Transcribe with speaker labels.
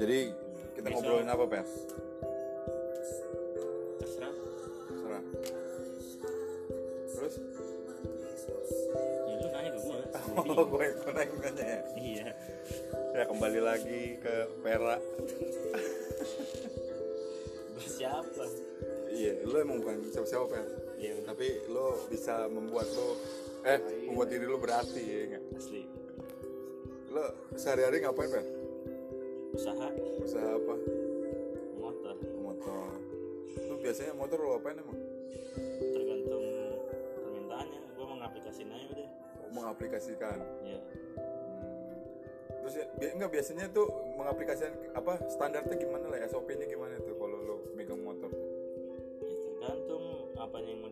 Speaker 1: Jadi kita
Speaker 2: Besok.
Speaker 1: ngobrolin apa pers?
Speaker 2: terserah
Speaker 1: Serah. Terus?
Speaker 2: ya lu nanya ke gua
Speaker 1: Oh, gue yang nanya ya.
Speaker 2: iya
Speaker 1: Ya kembali lagi ke Perak.
Speaker 2: Gua siapa
Speaker 1: Iya, lo emang bukan siapa-siapa pers.
Speaker 2: Iya, bener.
Speaker 1: Tapi lo bisa membuat lo eh membuat diri lo berarti ya enggak?
Speaker 2: asli
Speaker 1: Lo sehari-hari ngapain pers?
Speaker 2: usaha
Speaker 1: Usaha apa?
Speaker 2: motor
Speaker 1: Motor. Lo biasanya motor lo apain emang?
Speaker 2: tergantung permintaannya gua mau ngaplikasiin aja udah
Speaker 1: Mengaplikasikan.
Speaker 2: ya
Speaker 1: Hmm. Terus ya, bi- enggak biasanya tuh mengaplikasikan apa standarnya gimana lah SOP-nya gimana tuh kalau lo megang motor?
Speaker 2: ya tergantung apa yang mau